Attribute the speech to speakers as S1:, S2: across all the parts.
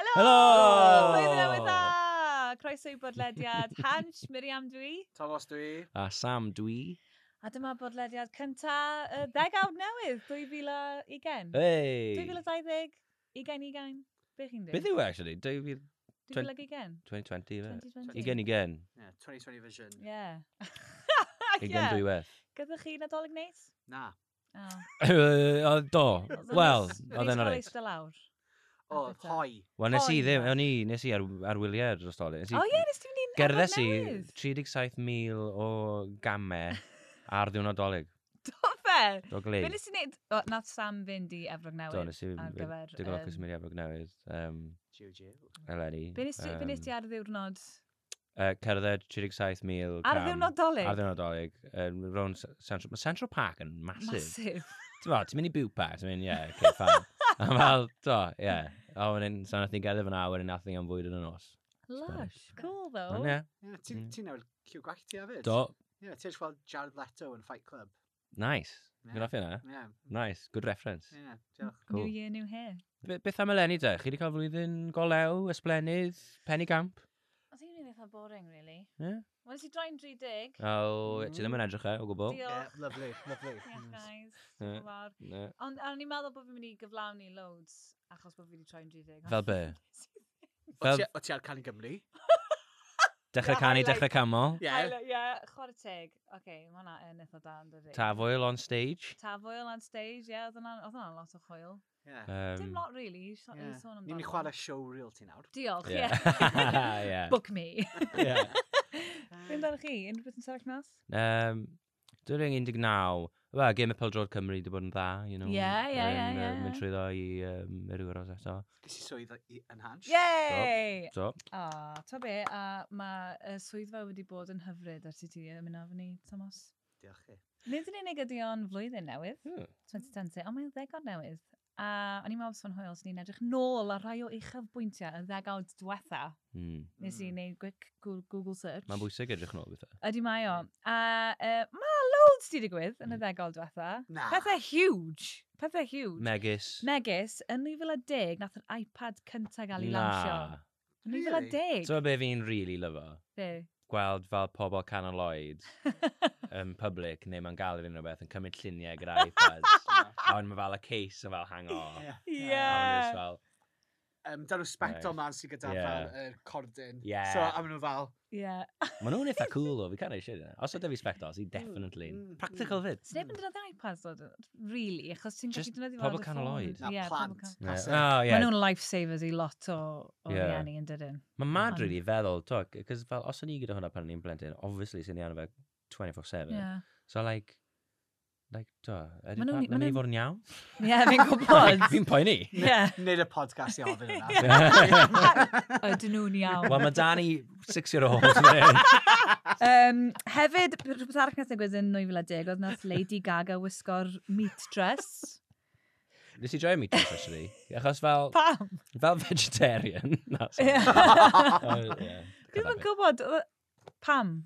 S1: Helo!
S2: Blwyddyn newydd dda! Croeso i bodlediad Hansh, Miriam dwi.
S3: Thomas dwi.
S1: A Sam dwi.
S2: A dyma bodlediad cynta y ddegawd newydd, 2020.
S1: Hey!
S2: 2020, 2020. Be chi'n
S1: Beth
S2: dweud?
S1: yw e, actually? 2020,
S2: 2020?
S1: fe?
S2: 2020?
S1: Igen, igen.
S3: Yeah, 2020 vision.
S2: Yeah.
S1: Igen
S2: yeah.
S1: dwywaith.
S2: Gyda chi nadolig neis?
S3: Na.
S2: Oh.
S1: Oedd do. Wel, oedd e'n
S2: o'r
S1: oreit.
S2: eistedd lawr. A
S3: O,
S2: bita.
S3: hoi.
S1: Wel, nes i
S2: Oedd.
S1: ddim, o'n i, nes i ar, ar wyliau dros doli.
S2: O ie, nes ti'n mynd i'n
S1: Gerddes i
S2: newydd.
S1: 37,000 o gamau ar ddiwrnod dolyg.
S2: Do fe?
S1: Do
S2: Be
S1: glei.
S2: nes ti'n neud? O, Nath Sam fynd i Efrog
S1: Do,
S2: Newydd
S1: nes i
S2: ar gyfer...
S1: digon
S2: yym,
S1: o'ch ysmiri efo gnewydd. Um,
S3: Jiw, jiw.
S1: Eleni.
S2: Be nes ti- be nes ti ar y ddiwrnod?
S1: Yy, Cerdded
S2: Ar y
S1: 37,000 cam.
S2: ddiwrnod dolyg?
S1: Ar ddiwrnod dolyg. Um, rown Central, mae Central Park yn massive.
S2: Masif.
S1: Ti'n fawr, ti'n mynd i Bupa? Ti'n mynd, ie, yeah, okay, fine. A fel, do, ie. Yeah. A wedyn, so nath ni'n gadael fan awr a nath ni'n fwyd yn y nos.
S2: Lush. Cool though.
S1: Ond ie,
S3: Ie,
S1: Mm.
S3: Ti'n ti newid lliw gwallt ti hefyd?
S1: do,
S3: Ie, ti'n gweld Jared Leto yn Fight Club.
S1: nice.
S3: Ie.
S1: Gwyd off yna?
S3: Ie,
S2: Mm-hmm.
S1: Nice, good reference.
S3: ie, diolch.
S1: Cool.
S2: New year, new hair.
S1: Be- Beth am eleni te? Chi wedi cael flwyddyn golew, ysblenydd, penny gamp?
S2: I think it's eitha boring, really.
S1: Ie?
S2: Wel, nes i droi'n 30.
S1: O, ti ddim yn edrych e, o gwbl.
S2: Mm. Diolch.
S3: Ie, lovely, lovely.
S2: Diolch, guys.
S1: Ie.
S2: Diolch yn fawr.
S1: Ne.
S2: Ond o'n i'n meddwl bod fi'n mynd i gyflawni loads achos bod fi wedi troi'n 30.
S1: Fel be?
S3: O
S1: Mm. Fel-
S3: ti- o ti ar Can Gymru?
S1: Dechrau
S2: Yeah,
S1: canu,
S2: highlight.
S1: dechrau camol.
S3: Ie.
S2: Ie, chwarae teg. Oce, okay, mae hwnna yn eitha da yn dydi.
S1: Tafwyl on stage.
S2: Tafwyl on stage, ie, oedd hwnna'n oedd hwnna'n lot o chwyl.
S3: Ie.
S2: Dim
S1: Um,
S2: lot, really, i sôn
S3: Ie.
S2: amdano.
S3: Ni'n mynd i chwarae show reel ti nawr.
S2: Diolch,
S1: ie.
S2: ie.
S1: Ie.
S2: Book me.
S1: Ie.
S2: Be amdano chi? Unrhyw beth yn sefyll mas?
S1: Um, Dwi'n 19, wel, Game of Peldrod Cymru wedi bod yn dda, you know.
S2: Ie, ie, ie,
S1: yn, yy,
S2: ie.
S1: Mynd trwy ddo i um, yr wyros eto.
S3: Ges i swydd i- yn hans.
S2: Yay!
S1: So,
S2: O, ta be, a mae y swyddfa wedi bod yn hyfryd ers i ti yn mynd ofyn i, Thomas.
S3: Diolch chi.
S2: Nid yn unig ydy o'n flwyddyn newydd,
S1: ie.
S2: 2020, ond mae'n ddegawd newydd. A o'n i'n meddwl sôn hwyl, so ni'n edrych nôl ar rai o uchaf bwyntiau y ddegawd diwetha.
S1: Mm.
S2: Nes i
S3: Mm.
S2: wneud quick Goo- Google search.
S1: Mae'n bwysig edrych nôl Hmm. bethau.
S2: Ydy mae o. A uh, mae loads di digwydd
S1: Hmm.
S2: yn y ddegawd diwetha.
S3: Na.
S2: Pethau huge. Pethau huge.
S1: Megis.
S2: Megis, yn 2010, nath yr iPad cyntaf gael ei lansio.
S1: Na.
S2: Yn
S3: Really?
S2: 2010?
S1: So be fi'n really lyfo?
S2: Be?
S1: Gweld fel pobl canol oed yn public neu mae'n gael unrhyw beth yn cymryd lluniau gyda iPads. a
S3: Mm.
S1: wedyn mae fel y case yn fel hang o. A wedyn
S2: Ie.
S1: it's fel,
S3: Um, Dan nhw spectol man sy'n gyda
S1: Ie.
S3: fel yr cordyn.
S1: Ie.
S3: So, am nhw fel...
S2: Ie.
S1: maen nhw'n eitha cool o, fi can't eisiau. Os oedd fi spectos, i definitely.
S3: mm,
S1: Practical fyd.
S2: Sneb yn dod iPads dod, really, achos ti'n
S1: Just
S2: gallu dynyddio
S1: pobl canol oed.
S3: Na,
S2: pobl
S3: plant.
S2: canol.
S1: Ie.
S3: Pass it.
S1: Oh,
S2: Maen
S1: ie,
S2: nhw'n lifesavers i lot o, o
S1: Ie.
S2: yeah. rieni yn dydyn.
S1: Mae mad
S2: Ond-
S1: rili really, feddwl, tog, cos fel, os o'n i gyda hwnna pan o'n i'n blentyn, obviously sy'n i arno fe 24-7.
S2: Ie,
S1: So, like, like, do,
S2: Ma'
S1: ydy
S2: nhw'n-
S1: hwnna'n
S2: ma'
S1: mynd i
S2: nhw'n-
S1: fod yn iawn?
S2: Ie, fi'n gwybod.
S1: Fi'n poeni.
S2: Ie,
S3: Nid y podcast i ofyn yna.
S1: Wel,
S2: ydyn nhw'n iawn.
S1: mae Dani six-year-old yn hyn.
S2: Um, hefyd, rhywbeth arall nes digwydd yn 2010, oedd nath Lady Gaga wisgo'r meat dress.
S1: Nes i joio meat dress, actually. Achos fel,
S2: Pam?
S1: fel vegetarian. Na, sorry.
S2: Dwi'n
S1: Oh, yeah.
S2: yn gwybod, yy, pam,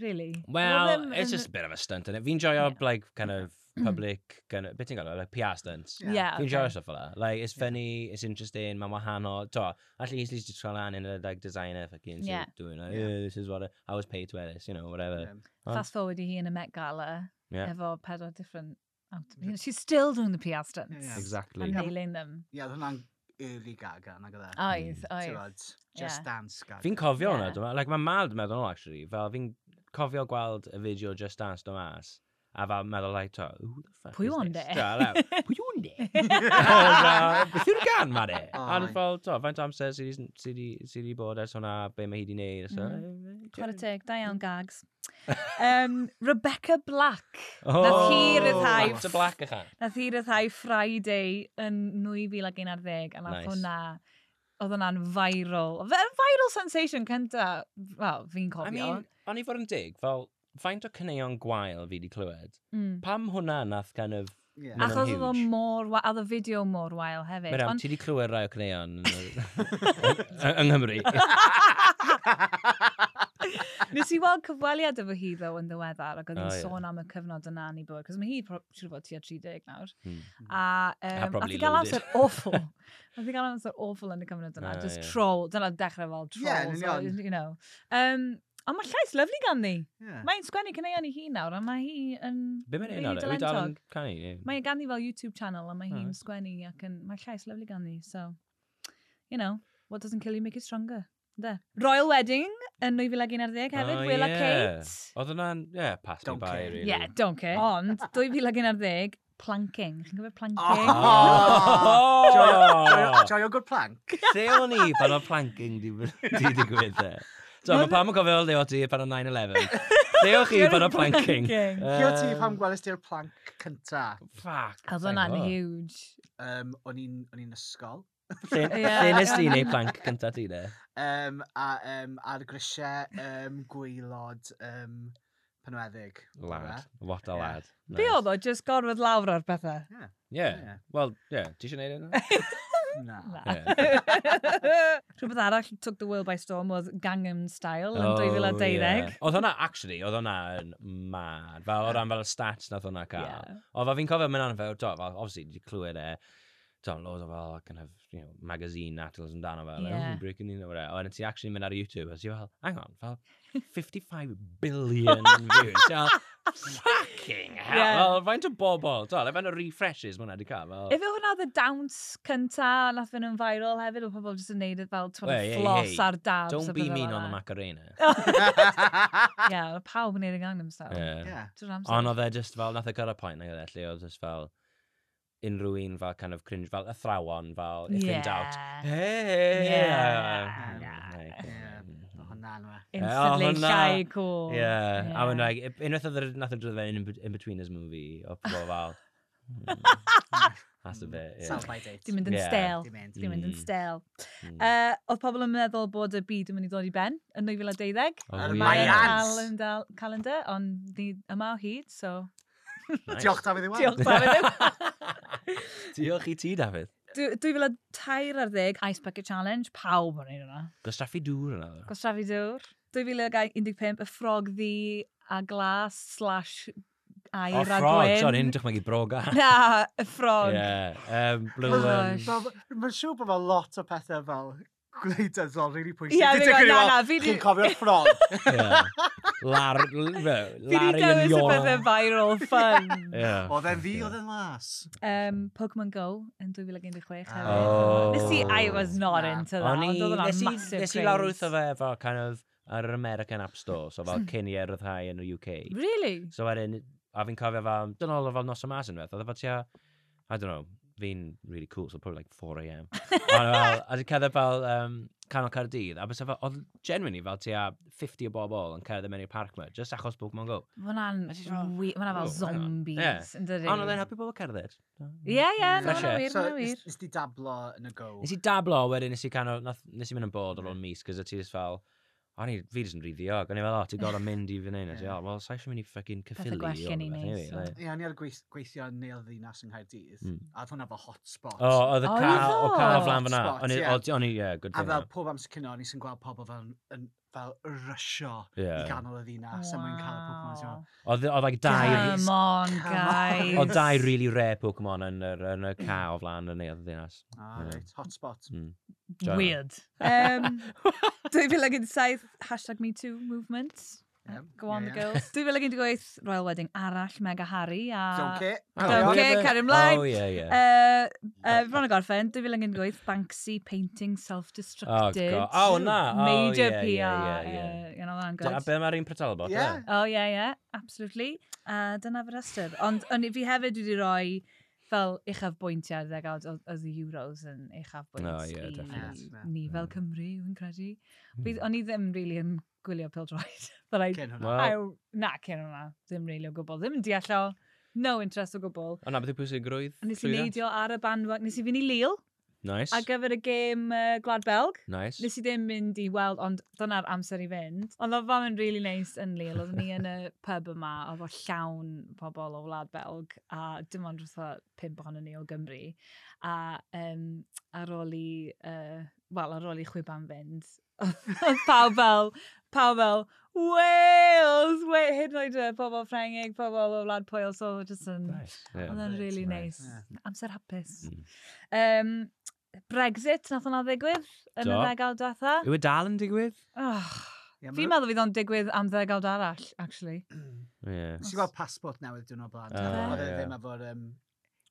S2: really? Oedd
S1: Well,
S2: ddim yn-
S1: it's
S2: Mm-hmm.
S1: just a bit of a stunt, innit? Fi'n joio,
S2: Yeah.
S1: like, kind of public, kind of, beth ti'n gael, like, PR stunts.
S3: Yeah.
S2: Yeah,
S1: Fi'n joio
S2: okay.
S1: stuff fel that. Like, it's funny, it's interesting, mae'n wahanol. Do, actually, he's just trying lan in a, like, designer fucking
S2: Yeah.
S1: yeah. doing like,
S3: Yeah.
S1: yeah. this is what I, I was paid to wear this, you know, whatever. Ond-
S2: Fast forward i hi yn y Met Gala,
S1: Yeah.
S2: efo pedwar different out. you know, She's still doing the PR stunts.
S3: Yeah.
S1: Exactly.
S2: I'm
S3: Yeah.
S2: nailing them.
S3: Ie, oedd hwnna'n early gaga, nag oedd e?
S2: Oedd,
S3: Ti'n
S2: oedd.
S3: gwbod, Just
S2: Ie.
S3: dance gaga.
S1: Fi'n cofio hwnna,
S2: Yeah.
S1: yeah. Like, mae'n mad meddwl hwnna, actually. Fel, fi'n cofio gweld y fideo Just Dance do mas. A fel meddwl, like, to, who the fuck
S2: Pwy
S1: is
S2: o'n
S1: this?
S2: de?
S1: Do, like, Pwy o'n de? A fel, Beth yw'r gan, ma de?
S3: Oh,
S1: And
S3: my-
S1: fel, to, faint o amser sydd 'di- sydd 'di- sydd 'di bod ers hwnna, be mae hi di neud, a so...
S2: Mm. Chwarae teg, da iawn gags. um, Rebecca Black.
S1: Oh,
S2: Nath hi ryddhau-
S1: Back to black, ychan.
S2: Nath hi ryddhau Friday yn 2011 a nath
S1: Nice.
S2: hwnna, oedd hwnna'n viral. Fe- Viral sensation cynta, wel, fi'n cofio.
S1: I mean, o'n i fod yn dig, fel, faint o cyneuon gwael fi wedi clywed?
S2: mm.
S1: Pam hwnna nath kind of...
S3: Ie.
S1: Ma' nhw'n
S2: Achos oedd o
S1: huge.
S2: mor, wa- a oedd y fideo mor wael hefyd.
S1: Meram,
S2: ond-
S1: ti wedi clywed rai o cyneuon yn y- yng Nghymru?
S2: Nes i weld cyfweliad efo hi ddo yn ddiweddar ac oedd
S1: O,
S2: hi'n
S1: ie.
S2: sôn am y cyfnod yna yn ei bywyd, cos mae hi pro- siŵr o fod tua 30 nawr.
S1: Hmm.
S2: A um,
S1: probably
S2: i gael
S1: loaded.
S2: amser awful. Nath i gael amser awful yn y cyfnod yna.
S1: O,
S2: just
S1: ie.
S2: troll. Dyna dechrau fel
S3: Ie, yn
S2: trolls. Yeah,
S3: union.
S2: you know. Um, ond mae llais lyflu gan ni.
S3: Yeah.
S2: Mae'n sgwennu cyneuon i hi nawr, a mae hi yn...
S1: Be mae'n
S2: rili
S1: un o'r? Wyt dal e? yn
S2: dylentog.
S1: canu?
S2: Mae gan ni fel YouTube channel a mae hi'n
S1: Alright.
S2: sgwennu ac yn, mae llais lyflu gan ni, so, you know, what doesn't kill you make you stronger. De. Royal Wedding yn 2011 hefyd,
S1: O,
S2: Will a
S1: ie.
S2: Kate.
S1: Oedd hwnna'n, ie, pass me
S3: Don't
S1: by,
S3: care.
S1: Oh, really.
S2: Yeah, don't care. Ond 2011, planking. Chi'n gwybod planking?
S3: Oh! Joio,
S1: Oh!
S3: joio good plank.
S1: Lle o'n i pan o'r planking di di digwydd e? So, mae pam yn gofio le o ti pan o 9-11. Lle o'ch chi pan o planking?
S3: Cio ti
S1: Yym,
S3: pam gwelest ti'r plank cynta?
S1: Fuck.
S2: Oedd hwnna'n huge.
S3: Um, o'n i'n o'n i'n ysgol.
S1: Lle lle nes ti neu plank cynta ti de?
S3: Um, a um, ar grisiau um, gwaelod um, penweddig.
S1: Lad. What a
S3: Ie.
S1: lad.
S2: Be oedd o, just gorfod lawr o'r pethau?
S1: Yeah.
S3: Ie.
S1: Well, yeah. Ti eisiau neud hynna?
S3: Na.
S2: Na.
S1: Ie.
S2: Rhywbeth arall took the world by storm oedd Gangnam Style yn
S1: Oh,
S2: 2012.
S1: ie. Oedd hwnna, actually, oedd hwnna yn mad. Fel o ran fel y stats nath hwnna cael.
S2: Yeah.
S1: Ond fel fi'n cofio mynd anna fel, do, fel, obviously, di clywed e, do, loads o fel, kind of, you know, magazine articles amdano fel, yeah.
S2: Yeah.
S1: oh, breaking news or whatever. Ond ti actually mynd ar YouTube, a ti fel, hang on, fel, 55 billion views. Ti fel, fucking hell,
S2: Yeah.
S1: fel, faint o bobl, do, le fe'n o refreshes mae hwnna di cael, fel,
S2: Efe hwnna oedd y dawns cynta, nath fynd yn viral hefyd, oedd pobl jyst yn neud it fel tw'n
S1: Hey, hey,
S2: floss
S1: hey.
S2: ar dabs.
S1: don't
S2: a
S1: be
S2: pethe
S1: mean
S2: fel
S1: on the
S2: yna.
S1: Macarena.
S3: Yeah.
S2: Ie, oedd pawb yn neud e y Gangnam Style.
S1: Yeah.
S3: Yeah.
S2: Drwy'r amser.
S1: Ond oedd e just fel, nath e gyrra point, nag oedd e, lle oedd just fel, unrhyw un fel kind of cringe, fel athrawon, fel, if in doubt,
S2: Yeah.
S1: hey,
S2: Yeah.
S1: like,
S3: Yeah.
S1: mm.
S3: Hwna yna.
S2: Instantly
S1: hwnna-
S2: llai cool.
S1: Yeah.
S2: Yeah.
S1: I mean, like, if- unwaith oedd yr- nath o drwydd fe'n in, bet- in between his movie, o pobl fel, "Hmm, that's a
S2: Mm.
S1: bit, yeah.
S3: Mm. Sounds like it.
S2: Di mynd yn
S1: Yeah.
S2: stel.
S3: Dim mynd.
S2: Di mynd yn
S1: Mm.
S2: stel.
S1: Hmm.
S2: Yy, Oedd pobl yn meddwl bod y byd yn mynd i ddod i ben yn 2012.
S1: Oh,
S3: Ar y
S1: yeah.
S2: Mae
S3: Mayans.
S2: yn calendar, calendar, ond ni yma o hyd, so...
S1: Nice.
S3: Diolch Dafydd Iwan.
S2: Diolch, Dafydd.
S1: Diolch i ti, Dafydd.
S2: Dw- 2013, Ice Bucket Challenge, pawb o'n ei hwnna.
S1: Gwastraffu dŵr yna, ddo.
S2: Gwastrafu dŵr. 2015, y ffrog ddi a glas slash
S1: O,
S2: air a
S1: Oh, ffrog,
S2: gwyn.
S1: sorry, ni'n dychmygu broga.
S2: Na, y ffrog.
S1: Yeah, um, blue
S2: Gosh.
S1: and-
S2: Gosh.
S3: Mae'n siŵr bod fel lot o pethau fel gwleidyddol rili pwysig.
S2: Ie,
S3: Di
S2: fi
S3: digwydd i
S2: na,
S3: fel,
S2: na, fi di...
S3: Chi'n cofio'r ffrog.
S1: Yeah. Lar, l- fe-
S2: Fi di
S1: Larry yn
S2: dewis y bethau
S1: Iora.
S2: viral fun.
S1: Yeah.
S3: Oedd e'n fi,
S1: Yeah.
S3: oedd e'n las.
S2: um, Pokemon Go yn 2016 hefyd.
S1: Oh.
S2: Nes i, I was not
S3: Na.
S2: into that.
S1: O'n i,
S2: Ond oedd hwnna'n
S1: nes i,
S2: massive
S1: nes i lawr
S2: craze.
S1: wrtho fe fel kind of ar yr American App Store, so fel cyn i e ryddhau yn y UK.
S2: Hmm. Really?
S1: So wedyn, a fi'n cofio fel, dyna oedd o fel nos o mas yn feth, oedd o fel tua, I don't know, fi'n really cool, so probably like 4am. a di cedd fel um, canol Cardydd, a bys fel, oedd genuinely fel tua 50 o bobl yn cerdded mewn i'r parc yma, just achos Pokemon Go.
S2: Mae hwnna'n
S1: Nes i fel,
S2: wi- ma' hwnna
S1: "Oh,
S2: fel
S1: hang on."
S2: zombies, yn dydi?
S1: A oedd e'n helpu bobl cerdded.
S2: Ie, ie, no,
S1: Fresh
S2: no,
S1: air.
S2: wir,
S3: So,
S2: no, wir.
S3: nes- nes di dablo yn y go.
S1: Nes i dablo, wedyn nes i kind of, nath- nes i mynd yn bod ar ôl
S2: Mm.
S1: mis, cos o ti just fel, o'n i, fi jyst yn rhy ddiog, o'n i fel, o, ti'n gorau mynd i fy neud,
S3: Ie.
S1: yeah. well, sa eisiau mynd i ffocin
S2: Pethe
S1: cyffili.
S2: gwell
S1: o
S2: gen i
S1: rywbeth,
S2: neud,
S1: anyway,
S2: so.
S1: like.
S3: Ie, o'n i ar gweith- gweithio yn Neil Ddinas yng Nghaerdydd.
S1: Mm.
S3: A oedd hwnna fel hotspot.
S1: O, oedd y
S2: Oedd
S1: car, o
S2: o?
S1: car flan fyna.
S3: Spot,
S1: O'n i,
S3: ie.
S1: oedd- o'n i, ie, good
S3: A
S1: thing.
S3: fel pob amser cyn o'n i sy'n gweld pobl fel, yn, fel rysio i
S1: Ie.
S3: ganol y
S1: Ah,
S3: ddinas a mwyn cael y Pokemon ti'n
S2: Wow.
S3: meddwl,
S1: Oedd oedd like dau,
S2: Come on,
S3: Come on.
S2: guys.
S1: oedd dau really rare Pokemon yn yr, yn y car o flan yn ei oedd ddinas.
S3: "Ah,
S1: Ie.
S3: reit, hotspot.
S1: Joio.
S2: Weird. Um, 2017, hashtag Me Too movement.
S3: Ie,
S2: Go on
S3: ie,
S2: the
S3: ie.
S2: girls. 2018, Royal Wedding arall, Mega Harry. A...
S3: Don't care.
S1: Ah.
S2: Don't
S3: Ie.
S2: care. cario Oh, ymlaen.
S1: O, ie, ie.
S2: Uh, uh, Ron y gorffen, 2018, Banksy painting
S1: Oh,
S2: self-destructed.
S1: God. O, na. Oh, O,
S2: Major
S1: ie,
S2: PR.
S1: ie, ie, ie.
S2: Uh, you know, that
S1: A be mae'r un pretel bod?
S3: Ie.
S2: Oh, ie, yeah, ie, yeah, absolutely. A dyna fy rhestr. Ond o'n i- fi hefyd wedi rhoi fel uchaf bwyntiau ag oedd oedd y Euros yn uchaf bwynt
S1: O, ie,
S2: i
S3: definite.
S2: ni fel Cymru, yn credu. Fi-
S1: Mm.
S2: O'n i ddim really yn gwylio pildroed. But I,
S3: Cyn hwnna.
S2: I,
S1: Wel,
S2: na, cyn hwnna, ddim really o gwbl. Ddim yn deall o, no interest o gwbl.
S1: o na, beth yw pwysigrwydd?
S2: A Nes i
S1: llwyddiant?
S2: neidio ar y bandwag, nes i fynd i Lille
S1: Nice.
S2: ar gyfer y gêm uh, Gwlad Belg.
S1: Nice.
S2: Nes i ddim mynd i weld, ond dyna'r amser i fynd. Ond oedd fam yn really nice yn Lille. Oedden ni yn y pub yma, oedd o llawn pobl o Wlad Belg, a dim ond rhywbeth pimp ohono ni o Gymru. A um, ar ôl i uh, wel, ar ôl i chwiban fynd, oedd pawb fel, pawb fel, Wales, we, hyd yn oed y pobl Ffrengig, pobl o wlad Pwyl, so just yn,
S1: Nice. Yeah.
S2: oedd yn
S3: Reit,
S2: really
S1: nice.
S2: nice.
S3: Ie.
S2: Amser hapus.
S1: Mm.
S2: Um, Brexit, nath o'na ddigwydd yn y
S1: Do.
S2: ddegawd diwetha.
S1: Yw e dal yn digwydd?
S2: Oh,
S3: Ie,
S2: Fi'n
S3: ma'
S2: meddwl fydd o'n digwydd am ddegawd arall, actually.
S3: nhw-
S1: Yeah.
S3: Nes i gweld passport newydd dwi'n o blaen.
S1: Ah,
S3: Oedd e
S1: ie.
S3: ddim efo'r um,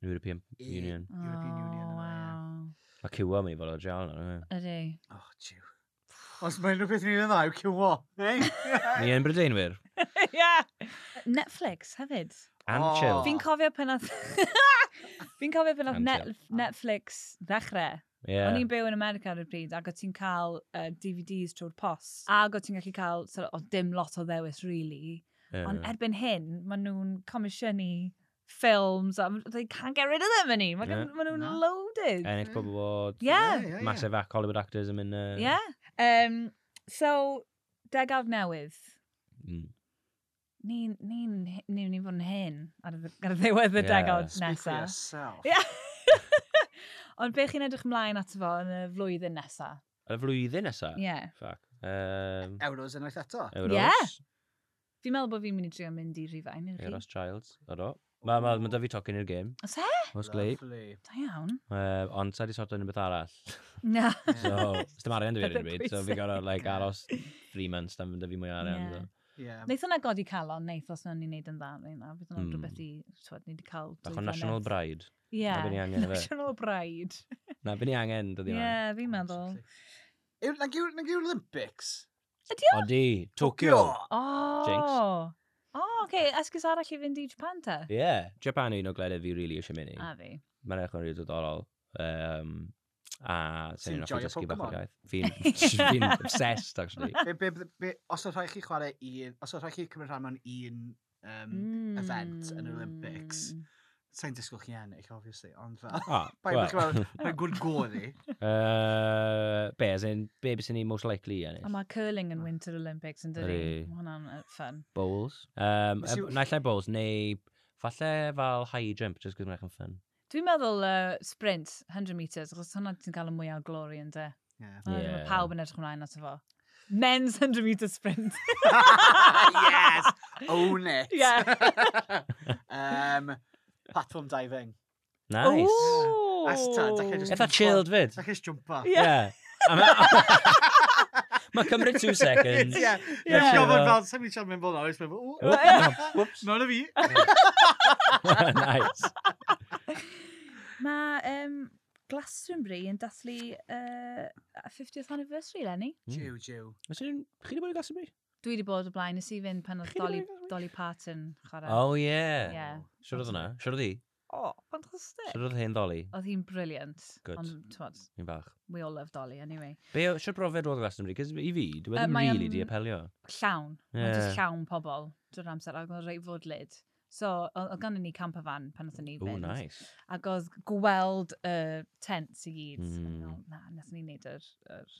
S1: European
S3: I-
S1: Union.
S3: European Union.
S2: Oh,
S3: yna, ie.
S2: wow.
S1: Mae cywa mi fel o jail na.
S2: Ydy.
S1: Ah,
S3: Oh, jiw. Os mae unrhyw beth ni'n dda, yw cywo.
S1: Ni yn Brydeinwyr.
S2: yeah. Netflix hefyd.
S1: And
S3: Oh.
S1: chill.
S2: Fi'n cofio pan oedd... Fi'n cofio pan oedd
S1: Cancel.
S2: Net, Netflix ddechrau. Yeah.
S1: Yeah.
S2: O'n i'n byw yn America ar y bryd, ac o ti'n cael uh, DVDs trwy'r post. Ac o ti'n gallu cael, so, o dim lot o ddewis, really.
S1: Yeah.
S2: Ond erbyn hyn, maen nhw'n comisiynu ffilms, a they can't get rid of them any. Maen
S1: Yeah.
S2: yeah. ma nhw'n
S3: Na.
S2: loaded.
S1: Ennill Bob Award.
S2: yeah.
S1: Massive ac Hollywood actors yn mynd... uh,
S2: Yeah. Um, so, degawd newydd.
S1: Mm.
S2: Ni'n ni, ni, ni, ni fod yn hyn ar y ar y ddiwedd y
S1: Yeah.
S2: degawd
S3: Speak for
S2: nesaf.
S3: yourself.
S2: Ie. Ond be chi'n edrych ymlaen ato fo yn y flwyddyn nesa?
S1: Ar y flwyddyn nesa?
S2: Ie. Yeah.
S1: Fuck. Um,
S3: Euros yn oeth eto.
S1: Euros.
S2: Yeah. Fi'n meddwl bod fi'n mynd i drio mynd i Rhufain. Euros.
S1: Euros Childs. Odo. Mae ma, ma da fi tocyn i'r gym.
S2: Os he?
S1: Os gleib.
S3: Lovely.
S2: Da iawn.
S1: Uh, ond sa'i di sorto yn y beth arall.
S2: Na.
S1: So, dim arian dy fi ar
S2: Pethe
S1: y bryd. So, fi
S2: pwysig.
S1: gorau like, aros three months dan fynd fi mwy o arian.
S2: Yeah.
S1: so.
S3: Yeah.
S2: Neith yna godi calon, neith os na'n ni wneud yn dda. neu na. Bydd yna'n
S1: Mm.
S2: rhywbeth i, twyd, ni wedi cael... dwy
S1: Bach o National
S2: flynedd.
S1: Bride.
S2: Ie.
S1: Na be ni angen i fe.
S2: National Bride.
S1: Na, byn ni angen,
S2: Ie,
S1: dydi hwnna.
S2: yeah, fi'n meddwl.
S3: Yw- nag yw'r- nag yw'r Olympics?
S2: Ydi o?
S1: Odi, Tokyo.
S2: Oh. O, oh, oce. Okay. Esgus arall i fynd i Japan te?
S1: Ie. Yeah. Japan yw un o gledydd fi rili eisiau mynd i.
S2: A fi.
S1: Mae'n edrych yn rili diddorol. Um, a
S3: Ti'n
S1: sy'n hoffi
S3: joio
S1: dysgu bach o
S3: Pokemon?
S1: gaeth. Fi'n fi'n obsessed, actually.
S3: Be, be, be- be, os oedd rhaid chi chwarae un, os oedd rhaid chi cymryd rhan mewn un um, event yn yr Olympics.
S2: Mm.
S3: Sa'n disgwyl chi ennill, obviously, ond fel...
S1: Ah,
S3: Bai bych
S1: well.
S3: chi'n rhaid gwrdd gwrdd
S1: Uh, be, as in, be bys ni most likely ennill?
S2: A mae curling yn Winter Olympics yn dydi.
S1: Ydi.
S2: Ma' Hwnna'n uh, fun.
S1: Bowls. Um,
S3: Nes i-
S1: e- Naill ai bowls, neu falle fel high jump, just gwybod mae'n ffyn.
S2: Dwi'n meddwl uh, sprint, 100 metres, achos hwnna ti'n cael y mwyaf glori yn de.
S3: Yeah.
S2: Ie.
S1: Ie.
S2: Mae pawb yn edrych ymlaen ato fo. Men's 100 metre sprint.
S3: yes! Own it!
S2: Yeah.
S3: um, platform diving.
S1: Nice.
S2: Ooh.
S3: That's tad, I can just-
S1: Eitha chilled fyd.
S3: Like his jumper.
S2: Ie.
S1: Yeah. A ma- Mae cymryd two seconds.
S3: yeah.
S1: Yeah.
S3: Nes i
S1: Yeah.
S3: gofyn fel, sa'n mynd siarad mynd bod nawr, ysbeth,
S1: Whoop. Whoops.
S3: None of you.
S1: nice.
S2: Mae um, Glastonbury yn dathlu uh, 50th anniversary, Lenny.
S3: Jew, Jew.
S1: Os ydyn, chi wedi bod i Glastonbury?
S2: Dwi wedi bod o blaen, nes i fynd pan oedd
S1: Chi 'di
S2: Dolly,
S1: bod i Glastonbury?
S2: Dolly Parton chwarae.
S1: Oh, yeah.
S2: Yeah.
S1: Siwr oedd hwnna? Siwr oedd hi?
S2: Oh, fantastic.
S1: Siwr oedd hen ddoli?
S2: Oedd hi'n briliant.
S1: Good.
S2: Ond, t'mod,
S1: Mi'n bach.
S2: we all love Dolly, anyway.
S1: Be, o- siwr brofed oedd Glastonbury? Cys i fi, dwi
S2: Yy,
S1: ddim
S2: mae
S1: really
S2: o'n-
S1: di apelio.
S2: Llawn. Yeah.
S1: Ie.
S2: Just llawn pobl drwy'r amser, ac oedd rei fodlyd. So, o- oedd gan ni camper van pan oedd ni
S1: O,
S2: fynd.
S1: nice.
S2: Ac oedd gweld y uh, tents i gyd.
S1: Mm.
S2: Mm. Fel, na, nes ni wneud yr, yr,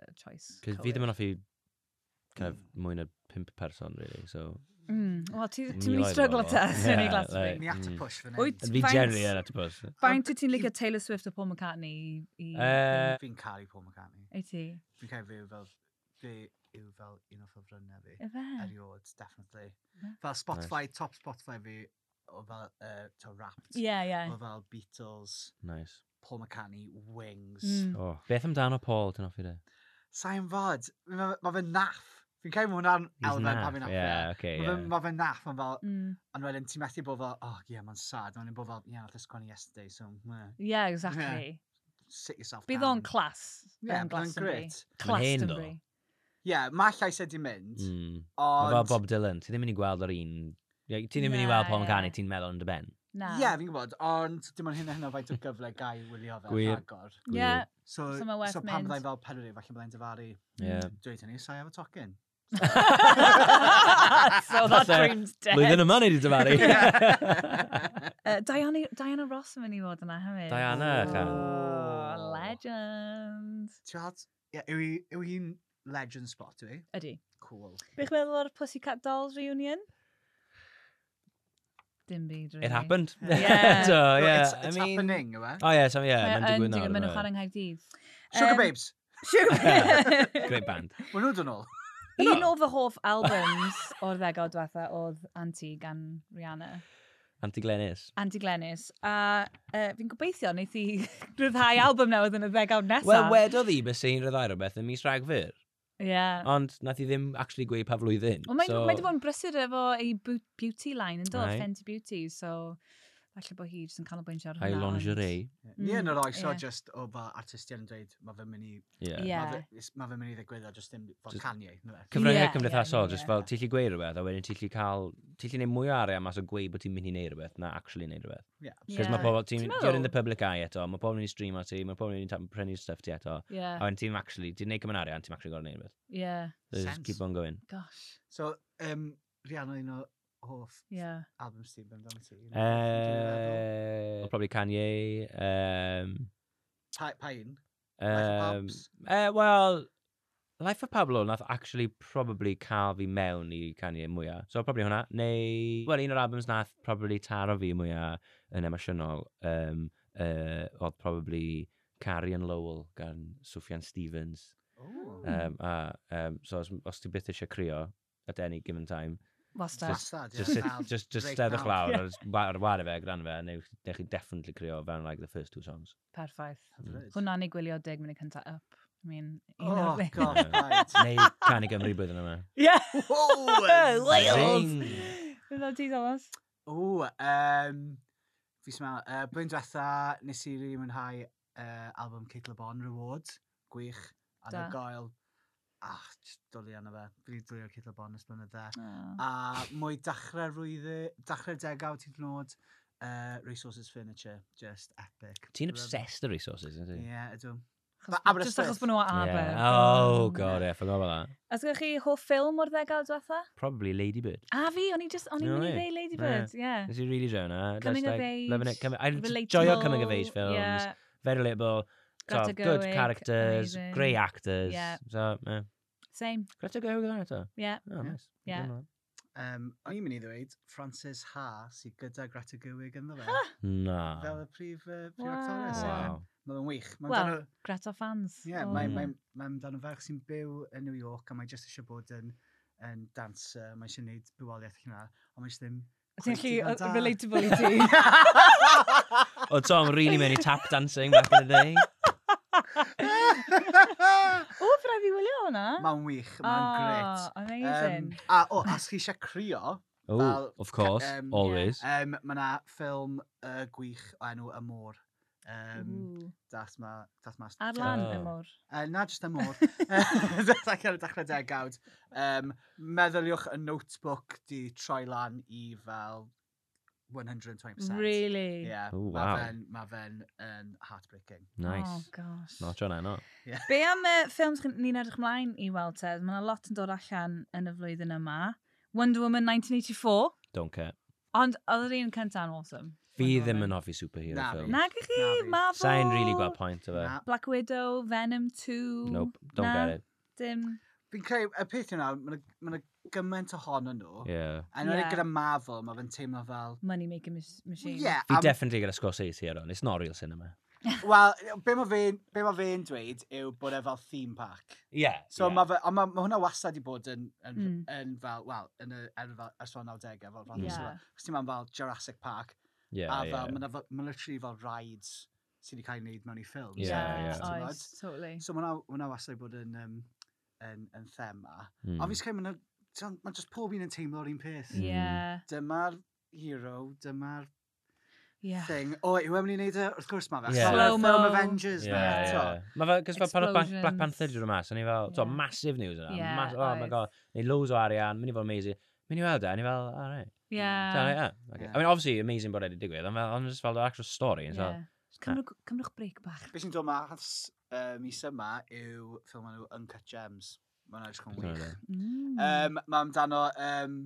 S2: yr choice.
S1: Cys fi
S2: cywir."
S1: ddim yn offi kind
S2: Hmm.
S1: of mwy na pimp person, really, so...
S2: Mm. Wel, ti- ti'n mynd
S1: Miloedd
S2: i struglo
S1: bobl.
S2: te, sy'n
S1: Ie,
S2: ei glas fi.
S1: like-
S3: Ni at y
S1: Mm.
S3: push fan
S2: Wyt.
S1: Yn fi
S2: Faint-
S1: generally yn at y bus.
S2: Faint wyt ti'n licio Taylor Swift o Paul McCartney i...
S1: Uh,
S3: Fi'n caru Paul McCartney.
S2: Ei ti?
S3: Fi'n caru fi yw fel, fi yw fel un o ffefrynnau fi.
S2: Efe?
S3: Eriod, definitely.
S2: Na.
S3: Fel Spotify, top Spotify fi, o fel, uh, to Wrapped.
S2: Ie, ie.
S3: O fel Beatles,
S1: nice.
S3: Paul McCartney, Wings.
S2: Mm.
S1: Oh. Beth amdano Paul, ti'n offi de?
S3: Sa'n fod, mae ma fe'n naff. Fi'n cael mewn hwnna'n elfen pa fi'n naff.
S1: Yeah, okay,
S3: Mae fe'n
S1: yeah.
S3: ma fe naff yn fel,
S2: Mm.
S3: ond wedyn ti'n methu bod fel, oh yeah, mae'n sad. Mae'n bod fel, yeah, nath ysgrifennu yesterday, so, meh,
S2: Yeah, exactly.
S3: sit yourself
S2: Bydd
S3: down.
S2: o'n clas.
S3: Yeah,
S2: yn
S3: bydd o'n
S2: Glastonbury.
S3: great.
S1: Ma'n hen, though.
S2: Glastonbury.
S3: Yeah, mae llais wedi mynd,
S1: Mm. Mae fel
S3: ond...
S1: Bob Dylan, ti ddim yn mynd i gweld yr un... Ie, Ti ddim yn mynd i
S2: Na,
S1: weld Paul
S2: ie.
S1: McCartney, ti'n meddwl yn dy ben.
S2: Na.
S3: Ie, fi'n gwybod, ond dim ond hyn a hyn o faint o gyfle gai wylio fel
S1: Gwir.
S3: rhagor.
S2: Yeah.
S3: So,
S2: So mae werth
S3: so pan
S2: mynd.
S3: byddai'n fel pedwar, falle byddai'n dyfaru. hmm,
S1: Ie.
S3: Dweud hynny, sai efo tocyn.
S2: so that
S1: Falle
S2: dream's dead.
S1: Blwyddyn yma ni wedi dyfaru.
S2: Uh, Diana, Diana Ross yn mynd i fod yna hefyd.
S1: Diana, chan.
S2: Oh, legend.
S3: Ti'n gweld, ie, yw hi- yw hi'n legend spot, yw hi?
S2: Ydy.
S3: Cool.
S2: Bych meddwl o'r Pussycat Dolls reunion? Dim byd, really.
S1: It happened.
S3: Yeah.
S2: Yeah.
S1: so,
S3: No,
S1: yeah.
S3: it's,
S1: I
S3: it's
S1: mean...
S3: happening, yw e?
S1: Oh, yeah, so,
S2: Mae
S1: yeah. Mae'n
S2: yn
S1: digwydd
S2: digwydd
S1: nawr.
S2: mewn
S1: yndyfe?
S2: chwarae yng Nghaerdydd.
S3: Sugar
S2: Yym,
S3: Babes.
S2: Sugar Babes.
S1: Great band.
S3: Mae nhw'n dyn ôl.
S2: Un o fy hoff albums o'r ddegawd diwetha oedd Anti gan Rihanna.
S1: Anti Glenis.
S2: Andy Glennis. A uh, fi'n gobeithio wneud i rhyddhau album newydd yn y ddegawd nesaf.
S1: Wel, wedodd i beth sy'n rhyddai rhywbeth yn mis rhagfyr.
S2: Yeah.
S1: Ond nath i ddim actually gweud pa flwyddyn.
S2: Wel, mae so... wedi bod yn brysur efo ei bu- beauty line yn dod,
S1: Aye.
S2: Fenty Beauty, so falle bod hi jyst yn canolbwyntio ar
S1: Ai
S2: hwnna. ond-
S1: lingerie.
S3: Ni yn yr oes o
S2: ie.
S3: just o fel artistiaid yn dweud, mae fe'n mynd i...
S1: Yeah.
S2: Ie.
S3: Mae fe'n mynd i ddigwydd o just dim fel
S1: Jyst-
S3: Kanye. yndyfe?
S1: Cyfryngau
S2: Ie,
S1: yeah,
S2: ie,
S1: cymdeithasol,
S2: ie,
S1: yeah, yeah. just
S2: ie.
S1: fel ti'n lli gweud rhywbeth, a wedyn ti'n lli cael, ti'n lli neud mwy o arian mas o gweud bod ti'n mynd i neud rhywbeth, na actually neud rhywbeth.
S3: Ie.
S1: Cos
S2: Ie.
S1: mae pobl, ti'n
S2: Ti'n
S1: you're in the
S2: meddwl?
S1: public eye eto, mae pobl yn mynd i stream o ti, mae pobl yn mynd i tap- prynu stuff ti eto. A
S2: Yeah,
S1: wedyn ti'n actually, ti'n neud cymryd arian, ti'n actually gorau neud rhywbeth.
S2: yeah,
S1: So Just
S3: Sense.
S1: keep on going.
S2: gosh,
S3: So, um, Rihanna un o hoff
S2: yeah.
S3: albums ti, ben dan ti.
S1: Uh, probably Kanye. Um,
S3: Pa pa un? of
S1: um,
S3: Pabs?
S1: uh, well, Life of Pablo nath actually probably cael fi mewn i Kanye mwyaf. So probably hwnna. Neu, well, un o'r albums nath probably taro fi mwyaf yn emosiynol. Um, uh, oedd probably Carrie and Lowell gan Sufjan Stevens.
S3: O,
S2: Mm.
S1: Um, a, um, so os, os ti byth eisiau crio at any given time,
S2: Wastad.
S1: Just-
S3: Bastard, ie.
S1: just, sit,
S3: Pam,
S1: just, just
S3: Drake
S1: steddwch
S3: Bell.
S1: lawr ar y- ar y ware fe, gran fe, neu neu chi definitely crio fewn like the first two songs.
S2: Perffaith.
S1: Mm.
S3: Hyfryd.
S2: Hwna'n ei gwylio 10 munud cyntaf up. I mean, un
S3: Oh,
S2: o'r thing.
S3: gosh, right.
S1: Neu Canu Gymru blwyddyn yma.
S2: Yeah.
S3: Whoa,
S2: Wales.
S1: Zing.
S2: Fydd o ti, Thomas?
S3: O, um, fi smel. Uh, Blwyddyn diwetha, nes i rili mwynhau uh, album Kate Le Bon Reward. Gwych,
S2: Da.
S3: anhygoel. Ach, Ah, jyst dwlu yna fe. Fi wedi dwlu o Kate Le Bon ys blynydde.
S2: Oh.
S3: A mwy dachrau rwyddi, dachrau degaw ti'n dnod, uh, Resources Furniture, just epic.
S1: Ti'n obsessed o resources,
S3: Ie,
S1: ynddi?
S3: yeah, ydw.
S2: Achos-
S3: Aberystwyth.
S2: Just achos bod nhw o Aber.
S1: Yeah. Oh,
S2: Mm.
S1: god, yeah, forgot about that.
S2: Os gyda chi hoff ffilm o'r ddegawd diwetha?
S1: Probably Lady Bird.
S2: A fi, o'n i just, o'n i'n
S1: No
S2: mynd i
S1: way.
S2: dweud Lady
S1: Yeah.
S2: Bird, yeah.
S1: Nes i really joio hwnna.
S2: Coming
S1: Just,
S2: of
S1: like,
S2: age,
S1: Loving it. Coming, I
S2: relatable,
S1: enjoy coming of age films.
S2: Yeah,
S1: Very relatable. So,
S2: Greta
S1: good
S2: Gerwig,
S1: characters,
S2: amazing.
S1: great actors.
S2: Yeah.
S1: So, yeah.
S2: same,
S1: Greta Gerwig o'n eto?
S2: yeah.
S1: Oh, nice.
S2: Yeah.
S1: Didn't know that.
S3: Um, o'n i'n mynd i ddweud, Frances Ha sydd gyda Greta Gerwig ynddo fe. Fel
S1: Na.
S3: y prif, uh, prif
S2: Wow.
S3: actores. ie.
S1: Ah. Wow.
S3: Mae'n wych. Mae'n
S2: Wel,
S3: amdano-
S2: Greta fans. Oh.
S3: Ie, yeah,
S2: o.
S3: mae'n
S1: Mm.
S3: mae, mae amdano ferch sy'n byw yn New York a mae jyst eisiau bod yn, yn dancer, mae eisiau gwneud bywoliaeth hynna, a mae eisiau ddim...
S2: Ti'n gallu
S3: cweit
S2: o-
S3: digon da.
S2: relatable i ti.
S1: O Tom, really mynd i tap dancing back in the day.
S2: O, fyra fi wylio hwnna.
S3: Mae'n wych, mae'n gret.
S2: Oh, amazing.
S3: Um, a o, os chi eisiau crio,
S1: Oh,
S3: Fel,
S1: of course,
S3: um,
S1: always.
S3: um, mae yna ffilm uh, gwych o enw Y Môr. Um,
S2: Ooh.
S3: das ma... Das ma
S2: Ar lan
S1: Oh.
S2: y môr.
S3: Uh, na jyst y môr. Dach chi'n dechrau degawd. Um, meddyliwch y notebook di troi lan i fel 120%.
S2: Really?
S3: Yeah,
S1: Oh,
S3: ma
S1: wow.
S3: fe'n ma fe'n yn heartbreaking.
S2: Oh,
S1: Nice.
S2: gosh.
S1: Not John, I know.
S2: Be am uh, ffilms chi'n- ni'n edrych ymlaen i weld te? Mae yna lot yn dod allan yn y flwyddyn yma. Wonder Woman 1984.
S1: Don't care.
S2: Ond oedd yr un cynta'n awesome.
S1: Fi
S2: Wonder
S1: ddim
S2: Woman.
S1: yn hoffi superhero
S3: Na fi.
S1: ffilm.
S2: Na gwych chi,
S3: Na fi.
S2: Marvel.
S1: Sa'n really gweld point o fe.
S3: Na.
S2: Black Widow, Venom 2.
S1: Nope, don't
S2: na,
S1: get it.
S2: Dim.
S3: Fi'n creu, y peth yna, mae yna gymaint ohonyn nhw.
S1: Yeah.
S3: A nhw'n
S2: Ie.
S3: gyda Marvel, mae fe'n teimlo fel...
S2: Money making mach- machine.
S3: Yeah,
S1: Fi definitely gyda Scorsese ar on. It's not real cinema.
S3: Wel, be mae fe'n be ma fe'n dweud yw bod e fel theme park.
S1: Yeah.
S3: So yeah. mae fe, ond ma, ma hwnna wastad i bod yn, yn, mm.
S2: Mm.
S3: yn fel, wel, yn y er fel ysfon 90au, fel fel
S1: Ie.
S3: yeah. Chos ti'n ma'n fel Jurassic Park,
S1: Yeah,
S3: a
S1: yeah.
S3: fel, yeah. mae'n literally fel rides sydd wedi cael ei wneud mewn i ffilms.
S1: Yeah, yeah.
S3: Ti'n gwbod?
S2: Oes, totally.
S3: So mae hwnna wastad i bod yn, um, yn, yn thema.
S1: Mm.
S3: Mm. Ond fi'n credu mae ma just pob un yn teimlo'r un peth.
S2: Hmm.
S1: Mm.
S2: Yeah,
S3: Dyma'r hero, dyma'r
S2: yeah.
S3: thing. O, yw e'n mynd i wneud e? Wrth gwrs mae fe.
S1: Ie.
S3: Yeah.
S2: Slow-mo.
S3: Film Avengers.
S1: Yeah,
S3: Yeah,
S1: yeah. Mae fel, cos fel pan oedd Ban- Black
S2: Explosions.
S1: Panther dwi'n mas, o'n i fel, so
S2: Yeah.
S1: massive news yna.
S2: Yeah,
S1: mas- Oh my
S2: oedd.
S1: god, neu loads o arian, mynd i fod amazing. Mynd i weld e, o'n i fel, all right. So,
S2: Yeah.
S1: yeah, okay.
S3: Yeah.
S1: I mean, obviously, amazing bod wedi digwydd, ond fel, ond just fel the actual story. So,
S2: yeah. Cymrwch, cymrwch break bach.
S3: Beth sy'n dod mas uh, mis yma yw ffilm nhw Uncut Gems. Mae hwnna jyst yn
S1: Dyna
S3: wych.
S1: fo.
S2: Mm.
S1: e.
S3: Um, mae amdano um,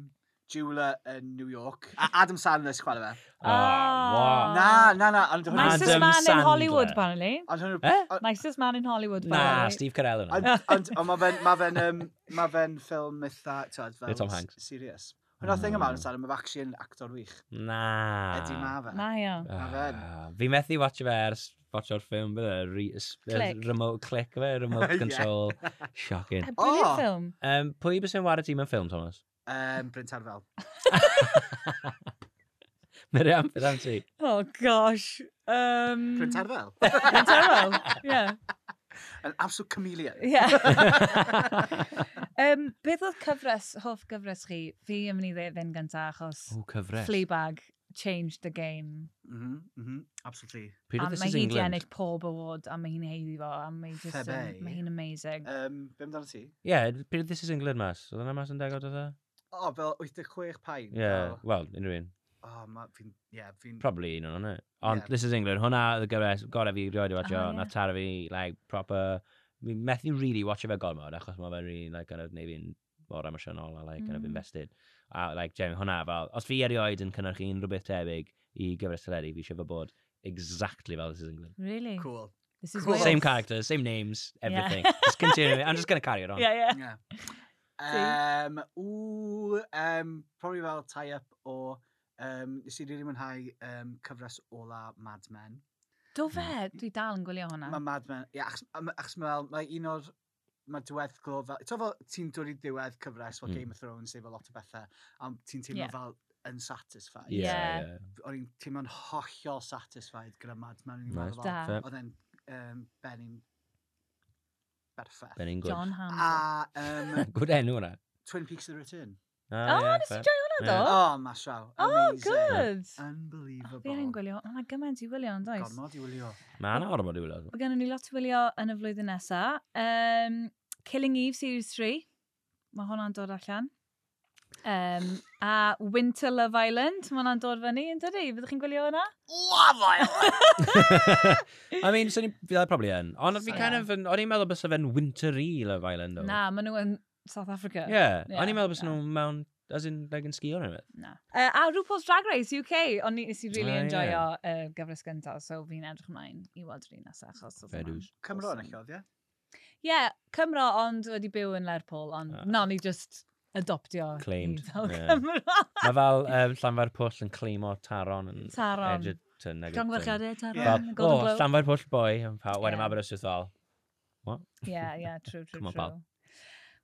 S3: Jewler yn New York. A Adam Sandler sy'n chwarae fe.
S1: Oh, wow.
S2: Oh.
S3: Na, na, na. Ond hwn
S2: Nicest
S1: Adam
S2: man in
S1: Sandler.
S2: Hollywood, apparently.
S3: Ond hwn
S1: Eh?
S2: Nicest man in Hollywood,
S1: Na,
S2: apparently.
S1: Steve Carell
S3: Ond
S1: yna.
S3: ond- ond ma' fe'n- ma' fe'n yym, ma' fe'n ffilm eitha, t'od, fel
S1: Neu Tom
S3: s-
S1: Hanks.
S3: serious. Hwnna thing yma,
S1: Mm.
S3: ond mae fe actually yn actor wych.
S1: Na.
S3: Ydy ma fe.
S2: Na, ia.
S3: Ma' fe'n-
S1: Ah, Fi methu watch fe ers fotio'r ffilm, bydde, re, s- yy,
S2: Click.
S1: remote click, fe, remote
S3: Ie.
S1: control. Shocking.
S2: A
S3: O!
S2: brilliant film.
S1: Um, pwy bys yn wario ti mewn ffilm, Thomas?
S3: Um, Bryn Terfel.
S1: Miriam, beth am ti?
S2: Oh gosh. Um,
S3: Bryn Terfel?
S2: Bryn Terfel. Yeah.
S3: An absolute chameleon.
S2: Yeah. um, beth oedd cyfres, hoff gyfres chi? Fi yn mynd i dde- fynd gynta achos
S1: O, cyfres.
S2: Fleabag changed the game.
S3: Mm-hmm, mm-hmm, absolutely.
S1: Pryd
S2: A
S1: oedd This
S2: mae
S1: Is
S2: hi di
S1: England?
S2: ennill pob award a mae hi'n heiddi fo a mae hi just yn,
S3: Febe.
S2: mae hi'n amazing.
S3: Um, be amdano ti?
S1: Ie, yeah, pryd oedd This Is England mas? Oedd yna mas yn degod oedd e?
S3: O, oh, fel 86 pain.
S1: Ie, wel, unrhyw un.
S3: O, oh, ma, fi'n, ie, yeah, fi'n...
S1: Probably un o'n hynny. Ond
S3: Ie.
S1: This Is England, hwnna oedd y gyfres, gorau fi rioed i watcho,
S2: O, ie.
S1: na taro fi, like, proper... Mi methu really watcho fe gormod, achos mae fe'n really, like, kind of, neu fi'n mor emosiynol a, like, kind of
S2: Mm.
S1: invested. A, like, Jamie, hwnna, fel, os fi erioed yn cynnyrchu unrhyw beth tebyg i gyfres teledu, fi eisiau fo bod exactly fel This Is England.
S2: Really?
S3: Cool.
S2: This is
S3: Cool.
S2: Wales.
S1: Same characters, same names,
S2: Yeah.
S1: everything. Just continuing. I'm just going to carry it on.
S2: Yeah, yeah.
S3: Yeah. Um, ww, um, probably fel tie-up o... Um, nes i rili mwynhau um, cyfres ola Mad Men.
S2: Do fe, dwi dal yn gwylio hwnna.
S3: Mae Mad Men, ie, achos, am- achos mae mae un o'r, mae diweddglo fel, ti'n fel ti'n dod i diwedd cyfres fel
S1: Mm.
S3: Game of Thrones, efo lot o bethau, a ti'n teimlo
S2: Ie.
S3: fel unsatisfied.
S1: Yeah,
S2: Yeah.
S1: yeah.
S3: O'n i'n teimlo'n hollol satisfied gyda Mad Men. o'n i'n
S1: Right.
S3: meddwl fel,
S2: Da.
S1: Fair.
S3: Oedd e'n um, Benin berffeth.
S1: Ben English.
S2: John Hamm.
S3: A um,
S1: Good enw hwnna. Ah,
S3: Twin Peaks of the Return.
S2: Oh, nes i joio hwnna do?
S3: Oh, masiaw.
S2: Oh,
S3: Amazing.
S2: good.
S3: Unbelievable.
S2: Fi yn gwylio, ond mae gymaint i wylio, ond oes.
S3: Gormod i wylio.
S1: Mae'n ormod i wylio.
S2: Mae gennym ni lot i wylio yn y flwyddyn nesaf. Um, Killing Eve Series 3. Mae hwnna'n dod allan. Um, a Winter Love Island. Mae hwnna'n dod fyny, yn dydi? Fyddwch chi'n gwylio hwnna?
S3: Love Island!
S1: I mean, so ni, fi ddau probably yn. Ond fi
S3: So-
S1: kind of, yn- o'n i'n meddwl bys fe'n wintry Love Island o.
S2: Na, maen nhw yn South Africa.
S1: Yeah,
S2: Yeah,
S1: o'n i'n meddwl bys
S2: yeah.
S1: nhw mewn, as in, like, yn sgio neu beth.
S2: Na. Uh, a RuPaul's Drag Race UK. O'n i nes i really
S1: Ah, ie.
S2: enjoyo uh, gyfres gyntaf, so fi'n edrych ymlaen i weld yr un nesaf. Achos oedd
S1: Fair
S2: hwnna'n
S1: dues.
S3: Cymro yn
S2: awesome.
S3: allodd, ie?
S2: Ie, yeah, Cymro, ond wedi byw yn Lerpwl, ond
S1: Ah.
S2: uh, non i just adoptio. i
S1: Claimed,
S2: Fel
S1: ie.
S2: Cymro.
S1: Mae fel um, Llanfair Pwll yn cleimo Taron yn
S2: Taron.
S1: Edgerton. ag Edgerton.
S2: Llongfarchiadau, Taron,
S3: Fel,
S2: yeah.
S1: Fel,
S2: Golden
S1: o,
S2: Globe.
S1: Llanfair Pwll boi, yn pa-
S2: Yeah.
S1: wedyn yeah. Aberystwyth fel. What?
S2: Yeah, yeah, true, true,
S1: Come on,
S2: true.
S1: pal.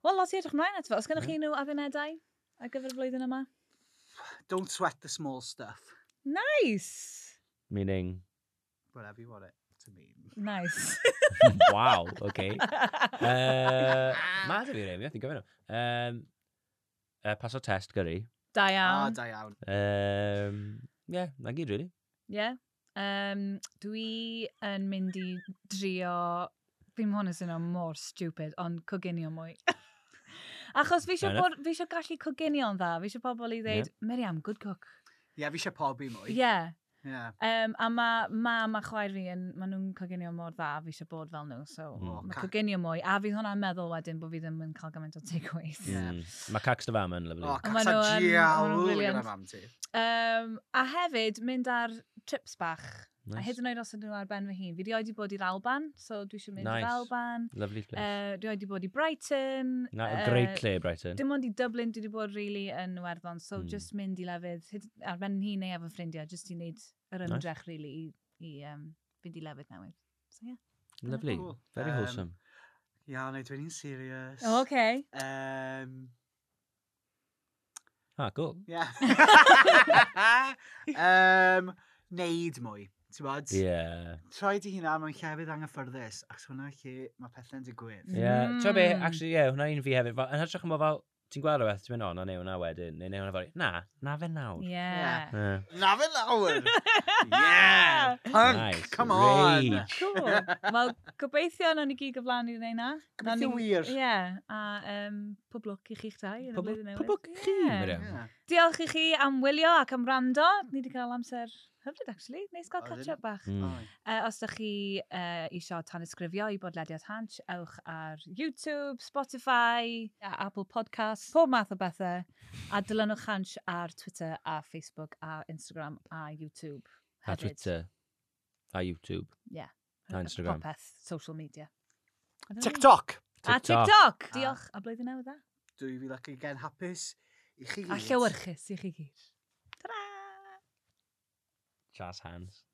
S2: Wel, lot i edrych mlaen ato. fo. Os gennych
S1: Ie.
S2: chi nhw addunedau ar gyfer y flwyddyn yma?
S3: Don't sweat the small stuff.
S2: Nice!
S1: Meaning,
S3: Whatever you want it to mean.
S2: Nice.
S1: wow, okay. Uh, Mae dy fi rhaid, mi oedd i'n gofyn nhw. Um, uh, paso test gyrru.
S2: da
S3: Ah,
S2: iawn.
S3: da iawn.
S1: Um, yeah, na gyd, really.
S2: Ie. Um, dwi yn mynd i drio... Fi'n hwn yn sy'n mor stupid, ond coginio mwy. Achos fi eisiau
S1: Fair enough.
S2: bod- fi eisiau gallu coginio'n dda. Fi eisiau pobl i
S1: Ie.
S2: ddeud, Miriam, good cook.
S3: Ie, fi eisiau pobi mwy.
S2: Ie.
S3: Ie.
S2: Yeah.
S3: Yeah.
S2: Um, a mae mam a chwaer fi, yn, maen nhw'n coginio mor dda, fi eisiau bod fel nhw, so
S1: Mm.
S3: O,
S2: mae
S3: ca-
S2: coginio mwy, a fydd hwnna'n meddwl wedyn bod fi ddim yn cael gymaint o takeaways.
S3: Ie.
S1: Mm. Mae Cax Dyfam yn lyflu.
S3: O,
S1: Oh,
S2: A ma'
S3: cacsa
S2: nhw yn- ma' nhw'n
S3: diawl gyda
S2: brilliant.
S3: mam ti.
S2: Um, a hefyd, mynd ar trips bach, a
S1: nice.
S2: hyd yn oed os ydyn nhw ar ben fy hun, fi di oedi bod i'r Alban, so dwi eisiau mynd
S1: Nice.
S2: i'r Alban,
S1: Lovely place.
S2: uh, dwi oedi bod i Brighton,
S1: na,
S2: yy,
S1: great lle, Brighton.
S2: Dim ond i Dublin, dwi wedi bod really yn Iwerddon, so
S1: Mm.
S2: just mynd i lefydd, hyd- ar ben hi neu efo ffrindiau, just i wneud yr
S1: Nice.
S2: ymdrech really i, i um, fynd i lefydd newydd. So, yeah.
S1: Lovely.
S2: Oh,
S3: Cool.
S1: Very
S3: Um,
S1: wholesome.
S3: Iawn, ei, dwi'n un serious.
S2: Okay.
S3: Um,
S1: Ah, cool.
S3: yeah. um, neud mwy, ti'n bod?
S1: Yeah.
S3: Troi di hynna mewn llefydd anghyffyrddus, achos hwnna lle mae pethau'n digwydd.
S1: Yeah. Mm. Tro be,
S2: Mm.
S1: actually, yeah, hwnna un fi hefyd. Fel- Yn hytrach yn bod fel, ti'n gweld o beth, ti'n mynd, o, na neu hwnna wedyn, neu neu hwnna fel, na, na fe nawr.
S2: Yeah.
S1: Yeah.
S3: Na fe lawr! Yeah! Punk,
S1: Nice.
S3: come on!
S1: Rage.
S2: Ah! Cool. Wel, gobeithio nawn ni gyd gyflawni i wneud na. Nawn
S3: Gobeithio
S2: ni-
S3: wir.
S2: Ie, yeah, a um, poblwc i chi'ch dau yn y
S1: Poblwc-
S2: blwyddyn newydd.
S1: poblwc i chi,
S2: Ie. Ah, Mm.
S1: Miriam.
S3: Yeah.
S2: Diolch i chi am wylio ac am rando. Ni wedi cael amser hyfryd, actually. Neis gael
S3: Oedd yn.
S2: catch-up bach.
S1: Mm.
S3: Oi.
S2: Uh, os ydych chi uh, isio tanysgrifio i bodlediad Hansh, ewch ar YouTube, Spotify, a Apple Podcasts, pob math o bethau. A dilynwch Hansh ar Twitter a Facebook a Instagram a YouTube.
S1: A
S2: hefyd.
S1: Twitter. A YouTube. a Instagram.
S2: Popeth, social media. I don't know.
S3: TikTok!
S2: A
S1: TikTok.
S2: TikTok.
S3: A-
S2: Diolch. A blwyddyn newydd dda.
S3: Dwi fi ac gen hapus i chi
S2: A
S3: gyd.
S2: llywyrchus i chi gyd. Ta-da!
S1: Chas hands.